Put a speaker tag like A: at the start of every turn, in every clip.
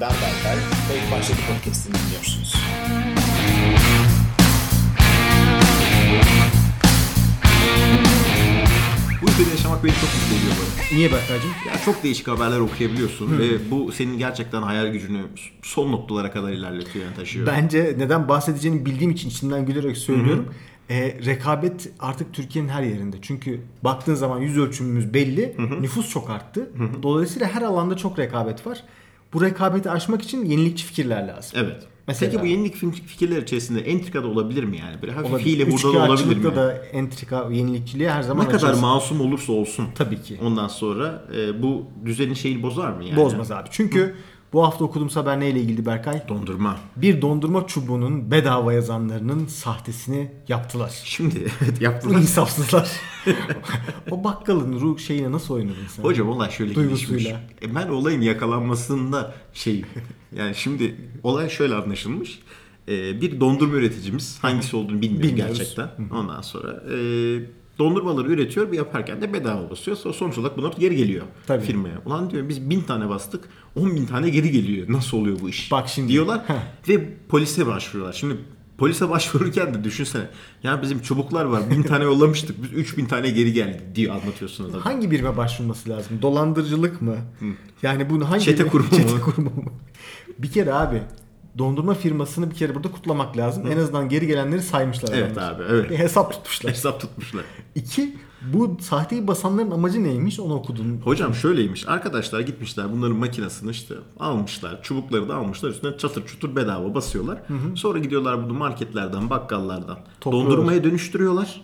A: Ben Berkay ve ilk başladı podcast'ini dinliyorsunuz.
B: Bu ülkede yaşamak beni çok mutlu ediyor böyle.
C: Niye Berkay'cığım?
B: Ya çok değişik haberler okuyabiliyorsun ve bu senin gerçekten hayal gücünü son noktalara kadar ilerletiyor yani taşıyor.
C: Bence neden bahsedeceğini bildiğim için içimden gülerek söylüyorum. E, rekabet artık Türkiye'nin her yerinde. Çünkü baktığın zaman yüz ölçümümüz belli. Nüfus çok arttı. Dolayısıyla her alanda çok rekabet var. Bu rekabeti aşmak için yenilikçi fikirler lazım.
B: Evet.
C: Mesela-
B: Peki bu yenilik fik- fikirler içerisinde entrika da olabilir mi yani? Böyle hafif
C: Olabilir.
B: hile burada da olabilir mi?
C: Üçkağıtçılıkta da entrika, yenilikçiliğe her zaman
B: Ne kadar
C: açığız.
B: masum olursa olsun.
C: Tabii ki.
B: Ondan sonra e, bu düzenin şeyi bozar mı yani?
C: Bozmaz abi. Çünkü bu hafta okuduğumuz haber neyle ilgili Berkay?
B: Dondurma.
C: Bir dondurma çubuğunun bedava yazanlarının sahtesini yaptılar.
B: Şimdi evet
C: Bu
B: yaptılar.
C: insafsızlar. o bakkalın ruh şeyine nasıl oynadın sen?
B: Hocam olay şöyle
C: Duygusuyla.
B: gelişmiş. E, ben olayın yakalanmasında şey yani şimdi olay şöyle anlaşılmış. E, bir dondurma üreticimiz hangisi olduğunu bilmiyorum
C: Bilmiyoruz.
B: gerçekten. Ondan sonra e, dondurmaları üretiyor ve yaparken de bedava basıyor. Sonra sonuç olarak bunlar geri geliyor
C: Tabii.
B: firmaya. Ulan diyor biz bin tane bastık 10 bin tane geri geliyor. Nasıl oluyor bu iş?
C: Bak şimdi.
B: Diyorlar
C: Heh.
B: ve polise başvuruyorlar. Şimdi polise başvururken de düşünsene. Ya bizim çubuklar var bin tane yollamıştık biz 3000 tane geri geldi diye anlatıyorsun adama.
C: Hangi birime başvurması lazım? Dolandırıcılık mı? Yani bunu hangi
B: Çete
C: bir-
B: kurumu mu?
C: Çete kurumu mu? bir kere abi dondurma firmasını bir kere burada kutlamak lazım. En azından geri gelenleri saymışlar.
B: Evet
C: adamlar.
B: abi, evet.
C: Bir hesap tutmuşlar.
B: Hesap tutmuşlar.
C: İki, bu sahteyi basanların amacı neymiş onu okudun.
B: Hocam şöyleymiş. Arkadaşlar gitmişler bunların makinesini işte almışlar. Çubukları da almışlar. Üstüne çatır çutur bedava basıyorlar. Sonra gidiyorlar bunu marketlerden, bakkallardan
C: Topluyorlar.
B: dondurmaya dönüştürüyorlar.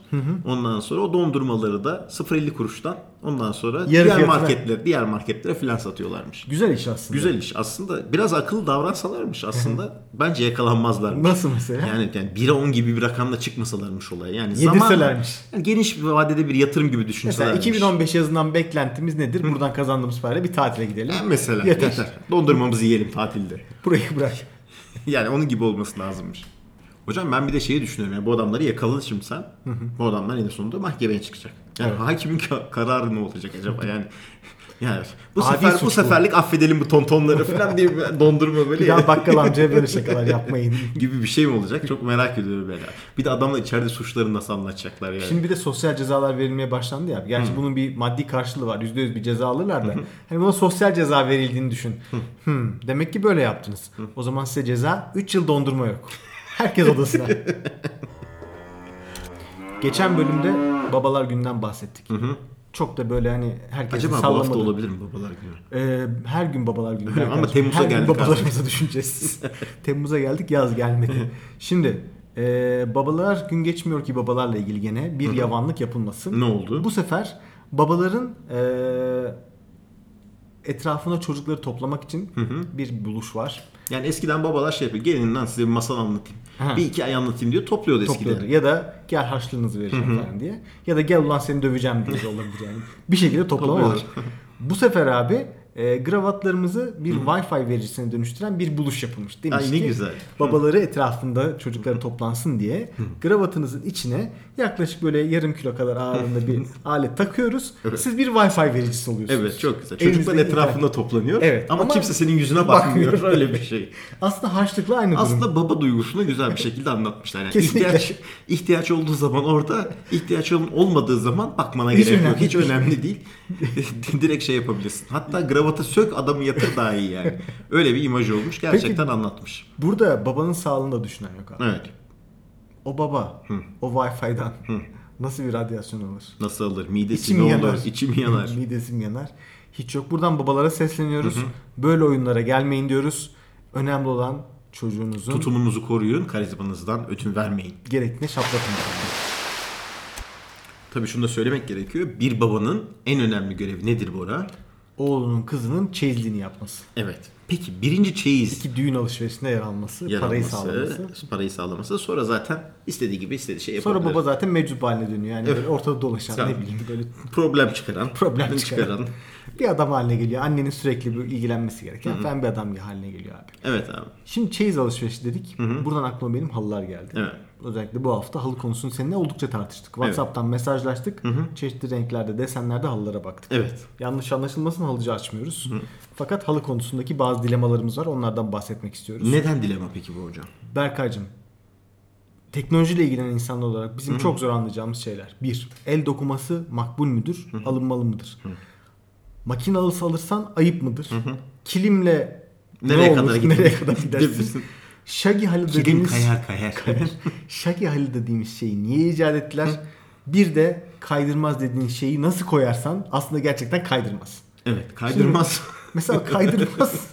B: Ondan sonra o dondurmaları da 0.50 kuruştan ondan sonra diğer
C: fiyatına.
B: marketlere, diğer marketlere filan satıyorlarmış.
C: Güzel iş aslında.
B: Güzel iş. Aslında biraz akıllı davransalarmış aslında bence yakalanmazlarmış.
C: Nasıl mesela?
B: Yani, yani 1'e 10 gibi bir rakamla çıkmasalarmış olaya. Yani
C: Yedirselermiş.
B: zaman- yani geniş bir vadede bir yatırım gibi
C: Mesela
B: düşünselermiş.
C: 2015 yazından beklentimiz nedir? Buradan kazandığımız parayla bir tatile gidelim.
B: Ha, mesela.
C: Yeter.
B: Yeter. Dondurmamızı yiyelim tatilde.
C: Burayı bırak.
B: Yani onun gibi olması lazımmış. Hocam ben bir de şeyi düşünüyorum. Yani bu adamları yakaladın şimdi sen. bu adamlar en sonunda mahkemeye çıkacak. Yani
C: Evet.
B: hakimin ka- kararı ne olacak acaba? Yani yani bu
C: Adil
B: sefer
C: suç bu.
B: bu seferlik affedelim bu tontonları falan diye bir dondurma böyle.
C: Bir daha bakkal amcaya böyle şakalar yapmayın.
B: gibi bir şey mi olacak? Çok merak ediyorum ben. ya. Bir de adamla içeride suçlarını nasıl anlatacaklar yani.
C: Şimdi bir de sosyal cezalar verilmeye başlandı ya. Gerçi bunun bir maddi karşılığı var. %100 bir ceza alırlar da. Hani buna sosyal ceza verildiğini düşün. Hmm, demek ki böyle yaptınız. O zaman size ceza 3 yıl dondurma yok. Herkes odasına. Geçen bölümde babalar günden bahsettik. Çok da böyle hani herkesin
B: Acaba bu
C: sallamadığı-
B: hafta olabilir mi babalar günü?
C: Ee, her gün babalar günü.
B: Öyle mi? Ama
C: arkadaşlar.
B: Temmuz'a
C: her gün
B: geldik
C: babalarımıza düşüneceğiz. Temmuz'a geldik yaz gelmedi. Şimdi e, babalar gün geçmiyor ki babalarla ilgili gene bir yavanlık yapılmasın.
B: Ne oldu?
C: Bu sefer babaların e, etrafına çocukları toplamak için bir buluş var.
B: Yani eskiden babalar şey yapıyor. Gelin lan size bir masal anlatayım.
C: Ha.
B: Bir hikaye anlatayım diyor. Topluyordu
C: Topluyordu.
B: eskiden.
C: Ya da gel harçlığınızı vereceğim falan diye. Ya da gel ulan seni döveceğim diye de olabilir yani. Bir şekilde toplama var.
B: Topluyorlar.
C: Bu sefer abi e, gravatlarımızı bir Wi-Fi vericisine dönüştüren bir buluş yapılmış. Demiş
B: Ay ne
C: ki
B: güzel.
C: babaları etrafında çocukları toplansın diye gravatınızın içine yaklaşık böyle yarım kilo kadar ağırlığında bir alet takıyoruz. Siz bir Wi-Fi vericisi oluyorsunuz.
B: Evet çok güzel.
C: Evinizde
B: Çocuklar
C: internet.
B: etrafında toplanıyor.
C: Evet,
B: Ama,
C: ama
B: kimse senin yüzüne bakmıyor.
C: bakmıyor.
B: Öyle bir şey.
C: Aslında harçlıkla aynı durum.
B: Aslında baba duygusunu güzel bir şekilde anlatmışlar. Yani
C: Kesinlikle.
B: ihtiyaç, ihtiyaç olduğu zaman orada, ihtiyaç ol- olmadığı zaman bakmana
C: Hiç
B: gerek yok.
C: önemli
B: Hiç
C: değil.
B: önemli değil. Direkt şey yapabilirsin. Hatta gravata sök adamı yatır daha iyi yani. Öyle bir imaj olmuş. Gerçekten anlatmış.
C: Burada babanın sağlığını da düşünen yok abi.
B: Evet.
C: O baba o Wi-Fi'den nasıl bir radyasyon alır?
B: Nasıl alır? Midesi
C: İçim
B: ne
C: yanar.
B: olur? İçim yanar.
C: Midesim yanar. Hiç yok. Buradan babalara sesleniyoruz. Böyle oyunlara gelmeyin diyoruz. Önemli olan çocuğunuzun
B: Tutumunuzu koruyun, karizmanızdan ötün vermeyin.
C: gerektiğine şaplatın.
B: Tabii şunu da söylemek gerekiyor. Bir babanın en önemli görevi nedir Bora?
C: Oğlunun kızının çeyizliğini yapması.
B: Evet. Peki birinci çeyiz
C: Ki düğün alışverişinde yer alması,
B: yer
C: parayı
B: alması,
C: sağlaması.
B: parayı sağlaması. Sonra zaten istediği gibi istediği şey yapabilir.
C: Sonra baba zaten meczup haline dönüyor. Yani böyle ortada dolaşan
B: Sen-
C: ne bileyim böyle
B: problem çıkaran,
C: problem çıkaran. bir adam haline geliyor. Annenin sürekli bir ilgilenmesi gereken falan bir adam haline geliyor abi.
B: Evet abi.
C: Şimdi çeyiz alışverişi dedik. Buradan aklıma benim halılar geldi.
B: Evet.
C: Özellikle bu hafta halı konusunu seninle oldukça tartıştık. WhatsApp'tan mesajlaştık. Çeşitli renklerde, desenlerde halılara baktık.
B: Evet.
C: Yanlış anlaşılmasın halıcı açmıyoruz. Fakat halı konusundaki bazı bazı dilemalarımız var. Onlardan bahsetmek istiyoruz.
B: Neden dilema peki bu hocam?
C: Berkaycığım, teknolojiyle ilgilenen insanlar olarak bizim çok zor anlayacağımız şeyler. Bir, el dokuması makbul müdür, alınmalı mıdır? Makine alısı alırsan ayıp mıdır? Kilimle
B: Nereye
C: ne
B: kadar
C: olur,
B: gidebilirsin?
C: nereye kadar gidersin?
B: Gidebilirsin.
C: Şagi halı
B: Kilim
C: dediğimiz,
B: kayar kayar. kayar.
C: Şagi halı dediğimiz şeyi niye icat ettiler? Bir de kaydırmaz dediğin şeyi nasıl koyarsan aslında gerçekten kaydırmaz.
B: evet kaydırmaz.
C: Mesela kaydırmaz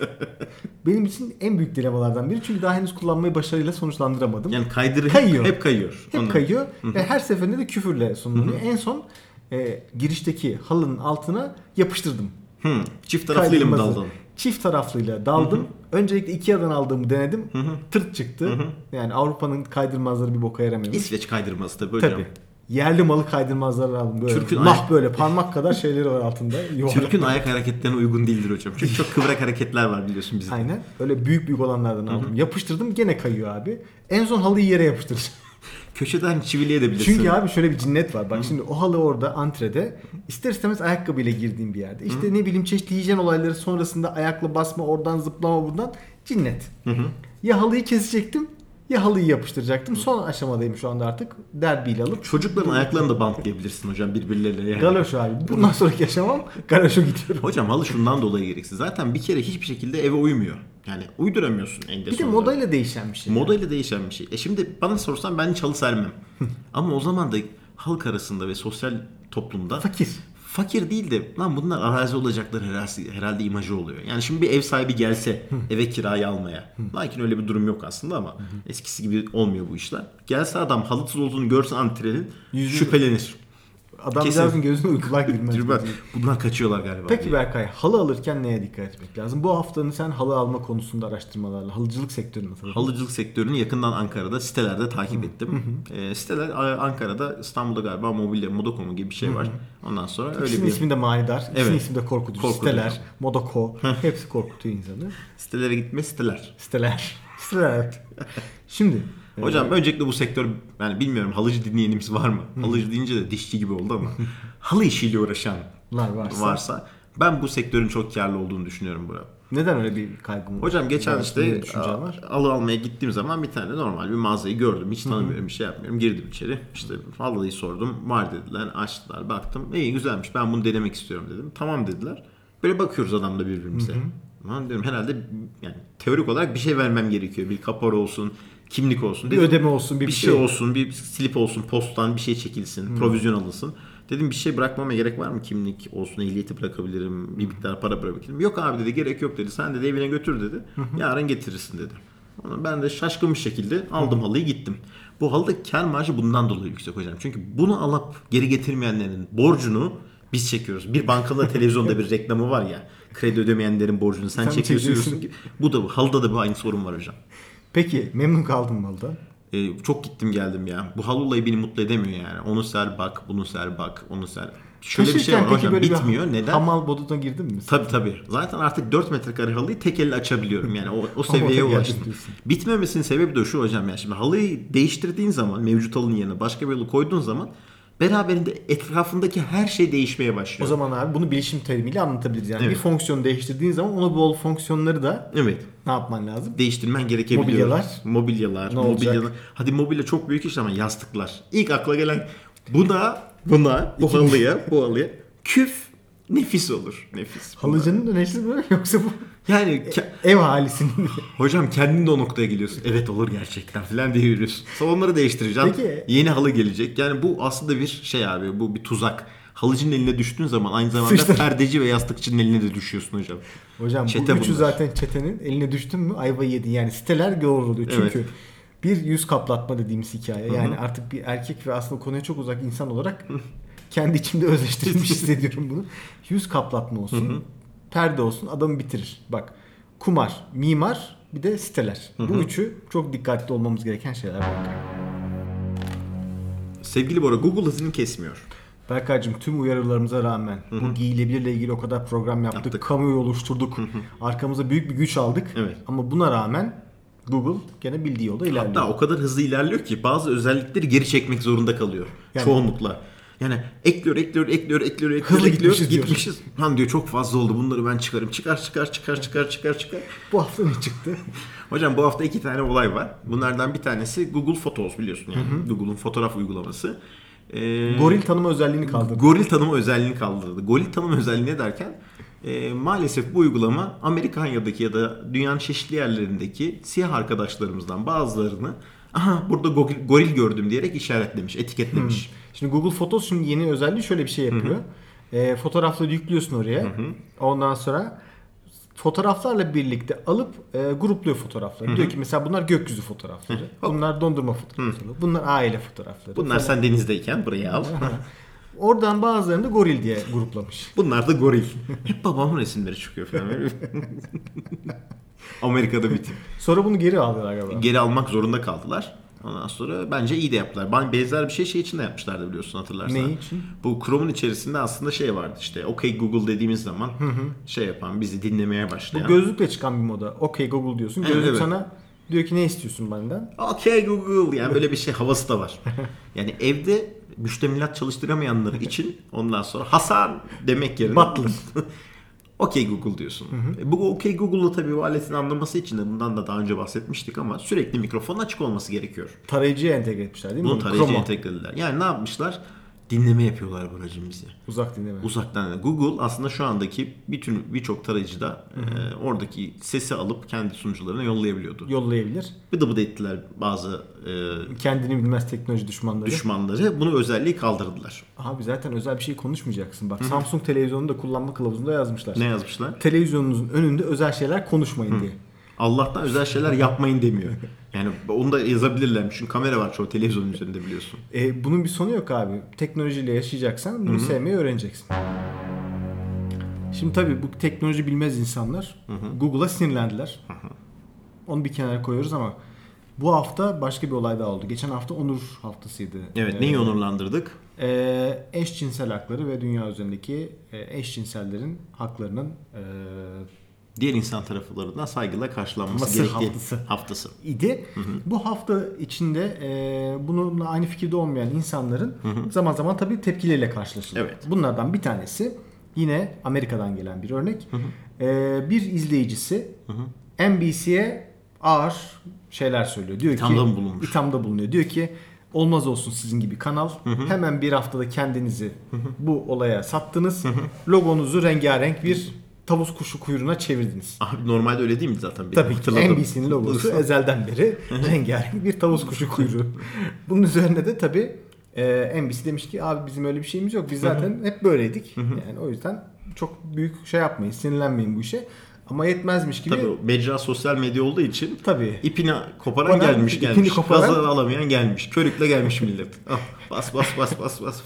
C: benim için en büyük dilemalardan biri. Çünkü daha henüz kullanmayı başarıyla sonuçlandıramadım.
B: yani kaydır
C: Kayıyor.
B: hep kayıyor.
C: Hep
B: Ondan.
C: kayıyor ve her seferinde de küfürle sonlanıyor. En son e, girişteki halının altına yapıştırdım.
B: Hı, Hmm. Çift taraflı elim
C: Kaydırmazı.
B: daldın.
C: Çift taraflıyla daldım. Öncelikle Ikea'dan aldığımı denedim. Tırt çıktı. Yani Avrupa'nın kaydırmazları bir boka yaramıyor.
B: İsveç kaydırması tabii hocam.
C: Tabii. Yerli malı kaydırmazları aldım. Böyle
B: Türk'ün
C: nah
B: ayak-
C: böyle parmak kadar şeyleri var altında. Yuvarlak.
B: Türk'ün ayak hareketlerine uygun değildir hocam. Çünkü çok kıvrak hareketler var biliyorsun bizde.
C: Aynen. Öyle büyük büyük olanlardan aldım. Yapıştırdım gene kayıyor abi. En son halıyı yere yapıştıracağım.
B: Köşeden çiviliye de bilirsin.
C: Çünkü abi şöyle bir cinnet var. Bak şimdi o halı orada antrede ister istemez ayakkabıyla girdiğim bir yerde. İşte ne bileyim çeşitli hijyen olayları sonrasında ayakla basma oradan zıplama buradan cinnet. Ya halıyı kesecektim ya halıyı yapıştıracaktım. Son aşamadayım şu anda artık derbiyle alıp.
B: Çocukların ayaklarını da bantlayabilirsin hocam birbirleriyle. Yani.
C: Galoş abi. Bundan sonraki yaşamam galoşa gidiyorum.
B: Hocam halı şundan dolayı gereksiz. Zaten bir kere hiçbir şekilde eve uymuyor. Yani uyduramıyorsun en de
C: Bir de
B: sonunda.
C: modayla değişen bir şey.
B: Modayla değişen bir şey. E şimdi bana sorsan ben hiç halı sermem. Ama o zaman da halk arasında ve sosyal toplumda
C: Fakir.
B: fakir değil de lan bunlar arazi olacaklar herhalde, herhalde imajı oluyor. Yani şimdi bir ev sahibi gelse eve kirayı almaya. Lakin öyle bir durum yok aslında ama eskisi gibi olmuyor bu işler. Gelse adam halısız olduğunu görse antrenin
C: Yüzü-
B: şüphelenir.
C: Adam
B: Kesin.
C: birazcık gözüne uykular girmez.
B: Diyor, "Ben- Bundan kaçıyorlar galiba.
C: Peki
B: diye.
C: Berkay, halı alırken neye dikkat etmek lazım? Bu haftanın sen halı alma konusunda araştırmalarla, halıcılık sektörünü nasıl?
B: Halıcılık sektörünü yakından Ankara'da sitelerde takip ettim. Ee, siteler a- Ankara'da İstanbul'da galiba mobilya modokomu gibi bir şey var. Ondan sonra öyle
C: İkisinin
B: bir
C: ismi de manidar, ikisinin
B: Evet.
C: ismi de korkutucu.
B: Korkutucu.
C: Siteler, Modoko, hepsi korkutuyor insanı.
B: sitelere gitme siteler.
C: Siteler, siteler evet. Şimdi,
B: Hocam öncelikle bu sektör yani bilmiyorum halıcı dinleyenimiz var mı? Halıcı deyince de dişçi gibi oldu ama halı işiyle uğraşan
C: lar varsa.
B: varsa ben bu sektörün çok karlı olduğunu düşünüyorum burada.
C: Neden öyle bir kaygım var?
B: Hocam geçen
C: Var,
B: işte
C: bir düşüncen var.
B: a- halı almaya gittiğim zaman bir tane normal bir mağazayı gördüm. Hiç tanımıyorum bir şey yapmıyorum. Girdim içeri. İşte halıyı sordum. Var dediler. Açtılar. Baktım. İyi güzelmiş. Ben bunu denemek istiyorum dedim. Tamam dediler. Böyle bakıyoruz adamla birbirimize. Lan diyorum herhalde yani teorik olarak bir şey vermem gerekiyor. Bir kapora olsun, kimlik olsun.
C: Bir
B: Dedim,
C: ödeme olsun, bir, Hmm.
B: bir şey olsun, bir slip olsun, postan bir şey çekilsin, provizyon alınsın. Dedim bir şey bırakmama gerek var mı? Kimlik olsun, ehliyeti bırakabilirim,
C: Hmm.
B: bir miktar para bırakabilirim. Yok abi dedi gerek yok dedi. Sen dedi evine götür dedi. Yarın getirirsin dedi. Ama ben de şaşkın bir şekilde aldım halıyı gittim. Bu halıda kar marjı bundan dolayı yüksek hocam. Çünkü bunu alıp geri getirmeyenlerin borcunu biz çekiyoruz. Bir bankada televizyonda bir reklamı var ya. Kredi ödemeyenlerin borcunu sen,
C: Sen
B: çekiyorsun.
C: çekiyorsun.
B: Bu da halıda da bu aynı sorun var hocam.
C: Peki, memnun kaldım malda.
B: E, çok gittim geldim ya. Bu halı olayı beni mutlu edemiyor yani. Onu ser bak, bunu ser bak, onu ser. Şöyle bir şey
C: Taşırken
B: var
C: peki
B: hocam
C: böyle bir
B: bitmiyor. Neden?
C: Hamal boduna girdin mi?
B: Tabii tabii. Zaten artık 4 metrekare halıyı tek elle açabiliyorum. Yani o, o seviyeye
C: oraya
B: ulaştım.
C: geldim diyorsun.
B: Bitmemesinin sebebi de şu hocam ya. Şimdi halıyı değiştirdiğin zaman mevcut halının yerine başka bir halı koyduğun zaman beraberinde etrafındaki her şey değişmeye
C: O
B: başlıyor.
C: zaman abi bunu bilişim terimiyle anlatabiliriz. Yani bir
B: Evet.
C: fonksiyonu değiştirdiğin zaman ona bol fonksiyonları da
B: Evet.
C: ne yapman lazım?
B: Değiştirmen gerekebiliyor.
C: Mobilyalar?
B: Mobilyalar.
C: Ne
B: mobilyalar.
C: olacak?
B: Hadi mobilya çok büyük iş ama yastıklar. İlk akla gelen buna, buna, bu halıya, bu halıya. Küf nefis olur. Nefis.
C: Halıcının önerisi mi yoksa bu
B: Yani ke-
C: ev halisinin mi?
B: hocam kendin de o noktaya geliyorsun. Evet olur gerçekten falan diye yürüyorsun. Salonları değiştireceğim.
C: Peki.
B: Yeni halı gelecek. Yani bu aslında bir şey abi bu bir tuzak. Halıcının eline düştüğün zaman aynı zamanda
C: Sıçtın.
B: perdeci ve yastıkçının eline de düşüyorsun hocam.
C: Hocam
B: Çete
C: bu üçü
B: bunlar.
C: zaten çetenin eline düştün mü ayva yedin. Yani siteler gavur oluyor. Çünkü
B: Evet.
C: bir yüz kaplatma dediğimiz hikaye. Yani artık bir erkek ve aslında konuya çok uzak insan olarak kendi içimde özleştirilmiş hissediyorum bunu. Yüz kaplatma olsun, perde olsun adamı bitirir. Bak kumar, mimar bir de siteler. Bu üçü çok dikkatli olmamız gereken şeyler.
B: Sevgili Bora Google hızını kesmiyor.
C: Berkay'cığım tüm uyarılarımıza rağmen bu giyilebilirle ilgili o kadar program yaptık,
B: Yaptık.
C: kamuoyu oluşturduk, arkamıza büyük bir güç aldık.
B: Evet.
C: Ama buna rağmen Google gene bildiği yolda ilerliyor.
B: Hatta o kadar hızlı ilerliyor ki bazı özellikleri geri çekmek zorunda kalıyor
C: Yani-
B: çoğunlukla. Yani ekliyor, ekliyor, ekliyor, ekliyor, ekliyor,
C: Hızlı
B: ekliyor,
C: gitmişiz diyor.
B: gitmişiz. Lan diyor çok fazla oldu bunları ben çıkarım. Çıkar, çıkar, çıkar, çıkar, çıkar, çıkar.
C: Bu hafta ne çıktı?
B: Hocam bu hafta iki tane olay var. Bunlardan bir tanesi Google Photos biliyorsun yani. Google'un fotoğraf uygulaması. Ee,
C: Goril tanıma özelliğini kaldırdı.
B: Goril tanıma özelliğini kaldırdı. Goril tanıma özelliği ne derken e, maalesef bu uygulama Amerikanya'daki ya da dünyanın çeşitli yerlerindeki siyah arkadaşlarımızdan bazılarını aha burada goril, goril gördüm diyerek işaretlemiş, etiketlemiş.
C: Şimdi Google Photos şimdi yeni özelliği şöyle bir şey yapıyor. E, fotoğrafları yüklüyorsun oraya. Ondan sonra fotoğraflarla birlikte alıp e, grupluyor fotoğrafları. Diyor ki mesela bunlar gökyüzü fotoğrafları. Bunlar dondurma fotoğrafları. Bunlar aile fotoğrafları.
B: Bunlar sen denizdeyken buraya al.
C: Oradan bazılarını da goril diye gruplamış.
B: Bunlar da goril. Hep babamın resimleri çıkıyor falan. Amerika'da bir tip.
C: Sonra bunu geri aldılar galiba.
B: geri almak zorunda kaldılar. Ondan sonra bence iyi de yaptılar. Ben benzer bir şey şey için de yapmışlardı biliyorsun hatırlarsan.
C: Ne için?
B: Bu Chrome'un içerisinde aslında şey vardı işte. Okay Google dediğimiz zaman şey yapan bizi dinlemeye
C: Bu
B: başlayan.
C: gözlükle çıkan bir moda. Okey Google diyorsun.
B: Evet,
C: Gözlük
B: evet.
C: sana diyor ki ne istiyorsun benden?
B: Okay Google yani böyle bir şey havası da var. Yani evde müştemilat çalıştıramayanlar için ondan sonra Hasan demek yerine
C: Butler.
B: Okay Google diyorsun. E bu Okay Google'ı tabii bu aletin anlaması için de bundan da daha önce bahsetmiştik ama sürekli mikrofonun açık olması gerekiyor.
C: Tarayıcıya entegre etmişler değil mi?
B: Bunu
C: bunu?
B: tarayıcıya
C: Chrome'a.
B: entegrelediler. Yani ne yapmışlar? Dinleme yapıyorlar buracığım bizi.
C: Uzak dinleme.
B: Uzaktan. Google aslında şu andaki bütün birçok tarayıcıda e, oradaki sesi alıp kendi sunucularına yollayabiliyordu.
C: Yollayabilir.
B: Bıdı bıdı ettiler bazı e,
C: Kendini bilmez teknoloji düşmanları.
B: düşmanları. Bunu özelliği kaldırdılar.
C: Abi zaten özel bir şey konuşmayacaksın. Bak Samsung televizyonunu da kullanma kılavuzunda yazmışlar.
B: Ne yazmışlar?
C: Televizyonunuzun önünde özel şeyler konuşmayın diye.
B: Allah'tan özel şeyler yapmayın demiyor. Yani onu da yazabilirler. Çünkü kamera var çoğu televizyonun üzerinde biliyorsun.
C: E, bunun bir sonu yok abi. Teknolojiyle yaşayacaksan bunu sevmeyi öğreneceksin. Şimdi tabii bu teknoloji bilmez insanlar Google'a sinirlendiler. Onu bir kenara koyuyoruz ama bu hafta başka bir olay daha oldu. Geçen hafta onur haftasıydı.
B: Evet
C: Ee,
B: neyi onurlandırdık?
C: e, eşcinsel hakları ve dünya üzerindeki e, eşcinsellerin haklarının e,
B: Diğer insan taraflarından saygıyla karşılanması
C: Mısır
B: gerektiği
C: haftası.
B: haftası.
C: idi. Bu hafta içinde e, bununla aynı fikirde olmayan insanların zaman zaman tabii tepkileriyle karşılaşıldı.
B: Evet.
C: Bunlardan bir tanesi yine Amerika'dan gelen bir örnek. E, bir izleyicisi NBC'ye ağır şeyler söylüyor. Diyor
B: İthamda
C: ki
B: mı bulunmuş?
C: ithamda bulunuyor. Diyor ki olmaz olsun sizin gibi kanal. Hemen bir haftada kendinizi bu olaya sattınız. Logonuzu rengarenk bir tavus kuşu kuyruğuna çevirdiniz.
B: Abi normalde öyle değil mi zaten? Benim
C: Tabii ki
B: hatırladığım.
C: NBC'nin logosu ezelden beri rengarenk bir tavus kuşu kuyruğu. Bunun üzerine de tabii e, NBC demiş ki abi bizim öyle bir şeyimiz yok. Biz zaten hep böyleydik. Yani o yüzden çok büyük şey yapmayın, sinirlenmeyin bu işe. Ama yetmezmiş gibi
B: Tabii o mecra sosyal medya olduğu için
C: Tabii.
B: ipini koparan
C: Koparan,
B: gelmiş
C: ipini
B: gelmiş.
C: koparan-
B: Gaza alamayan gelmiş. Körükle gelmiş millet. Ah, bas bas bas bas bas.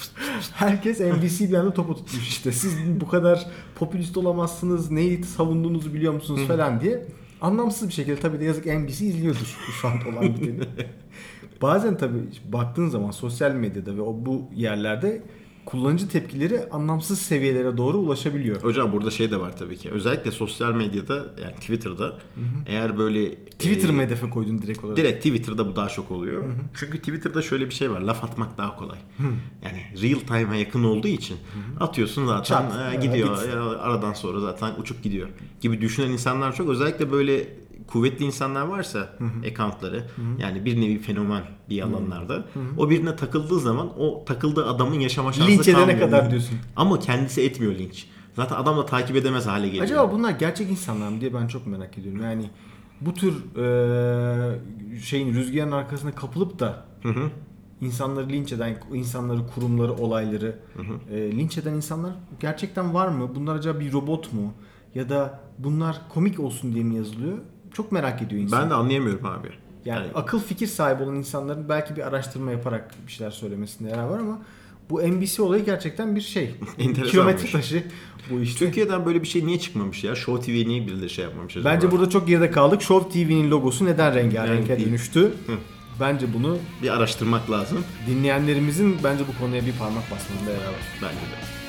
C: herkes NBC bir anda topu tutmuş işte. Siz bu kadar popülist olamazsınız, neyi savunduğunuzu biliyor musunuz falan diye. Anlamsız bir şekilde tabii de yazık NBC izliyordur şu an olan biteni. Bazen tabii baktığın zaman sosyal medyada ve o bu yerlerde kullanıcı tepkileri anlamsız seviyelere doğru ulaşabiliyor.
B: Hocam burada şey de var tabii ki. Özellikle sosyal medyada yani Twitter'da eğer böyle
C: Twitter
B: e,
C: mı hedefe koydun direkt olarak?
B: Direkt Twitter'da bu daha çok oluyor. Çünkü Twitter'da şöyle bir şey var. Laf atmak daha kolay. Yani real time'a yakın olduğu için atıyorsun zaten
C: Çat,
B: ha,
C: ha,
B: gidiyor.
C: git.
B: Ya, aradan sonra zaten uçup gidiyor gibi düşünen insanlar çok. Özellikle böyle kuvvetli insanlar varsa accountları yani bir nevi fenomen bir alanlarda o birine takıldığı zaman o takıldığı adamın yaşama şansı
C: Linç edene
B: kalmıyor.
C: kadar diyorsun.
B: Ama kendisi etmiyor linç. Zaten adam da takip edemez hale geliyor.
C: Acaba bunlar gerçek insanlar mı diye ben çok merak ediyorum. Yani bu tür e, şeyin rüzgarın arkasına kapılıp da insanları linç eden, insanları, kurumları, olayları e, linç eden insanlar gerçekten var mı? Bunlar acaba bir robot mu? Ya da bunlar komik olsun diye mi yazılıyor? Çok merak ediyor insan.
B: ben de anlayamıyorum abi.
C: Yani akıl fikir sahibi olan insanların belki bir araştırma yaparak bir şeyler söylemesinde yarar var ama bu NBC olayı gerçekten bir şey.
B: Enteresanmış.
C: Kilometre taşı bu işte.
B: Türkiye'den böyle bir şey niye çıkmamış ya? Show TV niye birileri şey yapmamış acaba?
C: Bence burada çok geride kaldık. Show TV'nin logosu neden rengarenk'e
B: Renk değil.
C: dönüştü? Bence bunu
B: bir araştırmak lazım.
C: dinleyenlerimizin bence bu konuya bir parmak basmanında yarar var.
B: Bence de.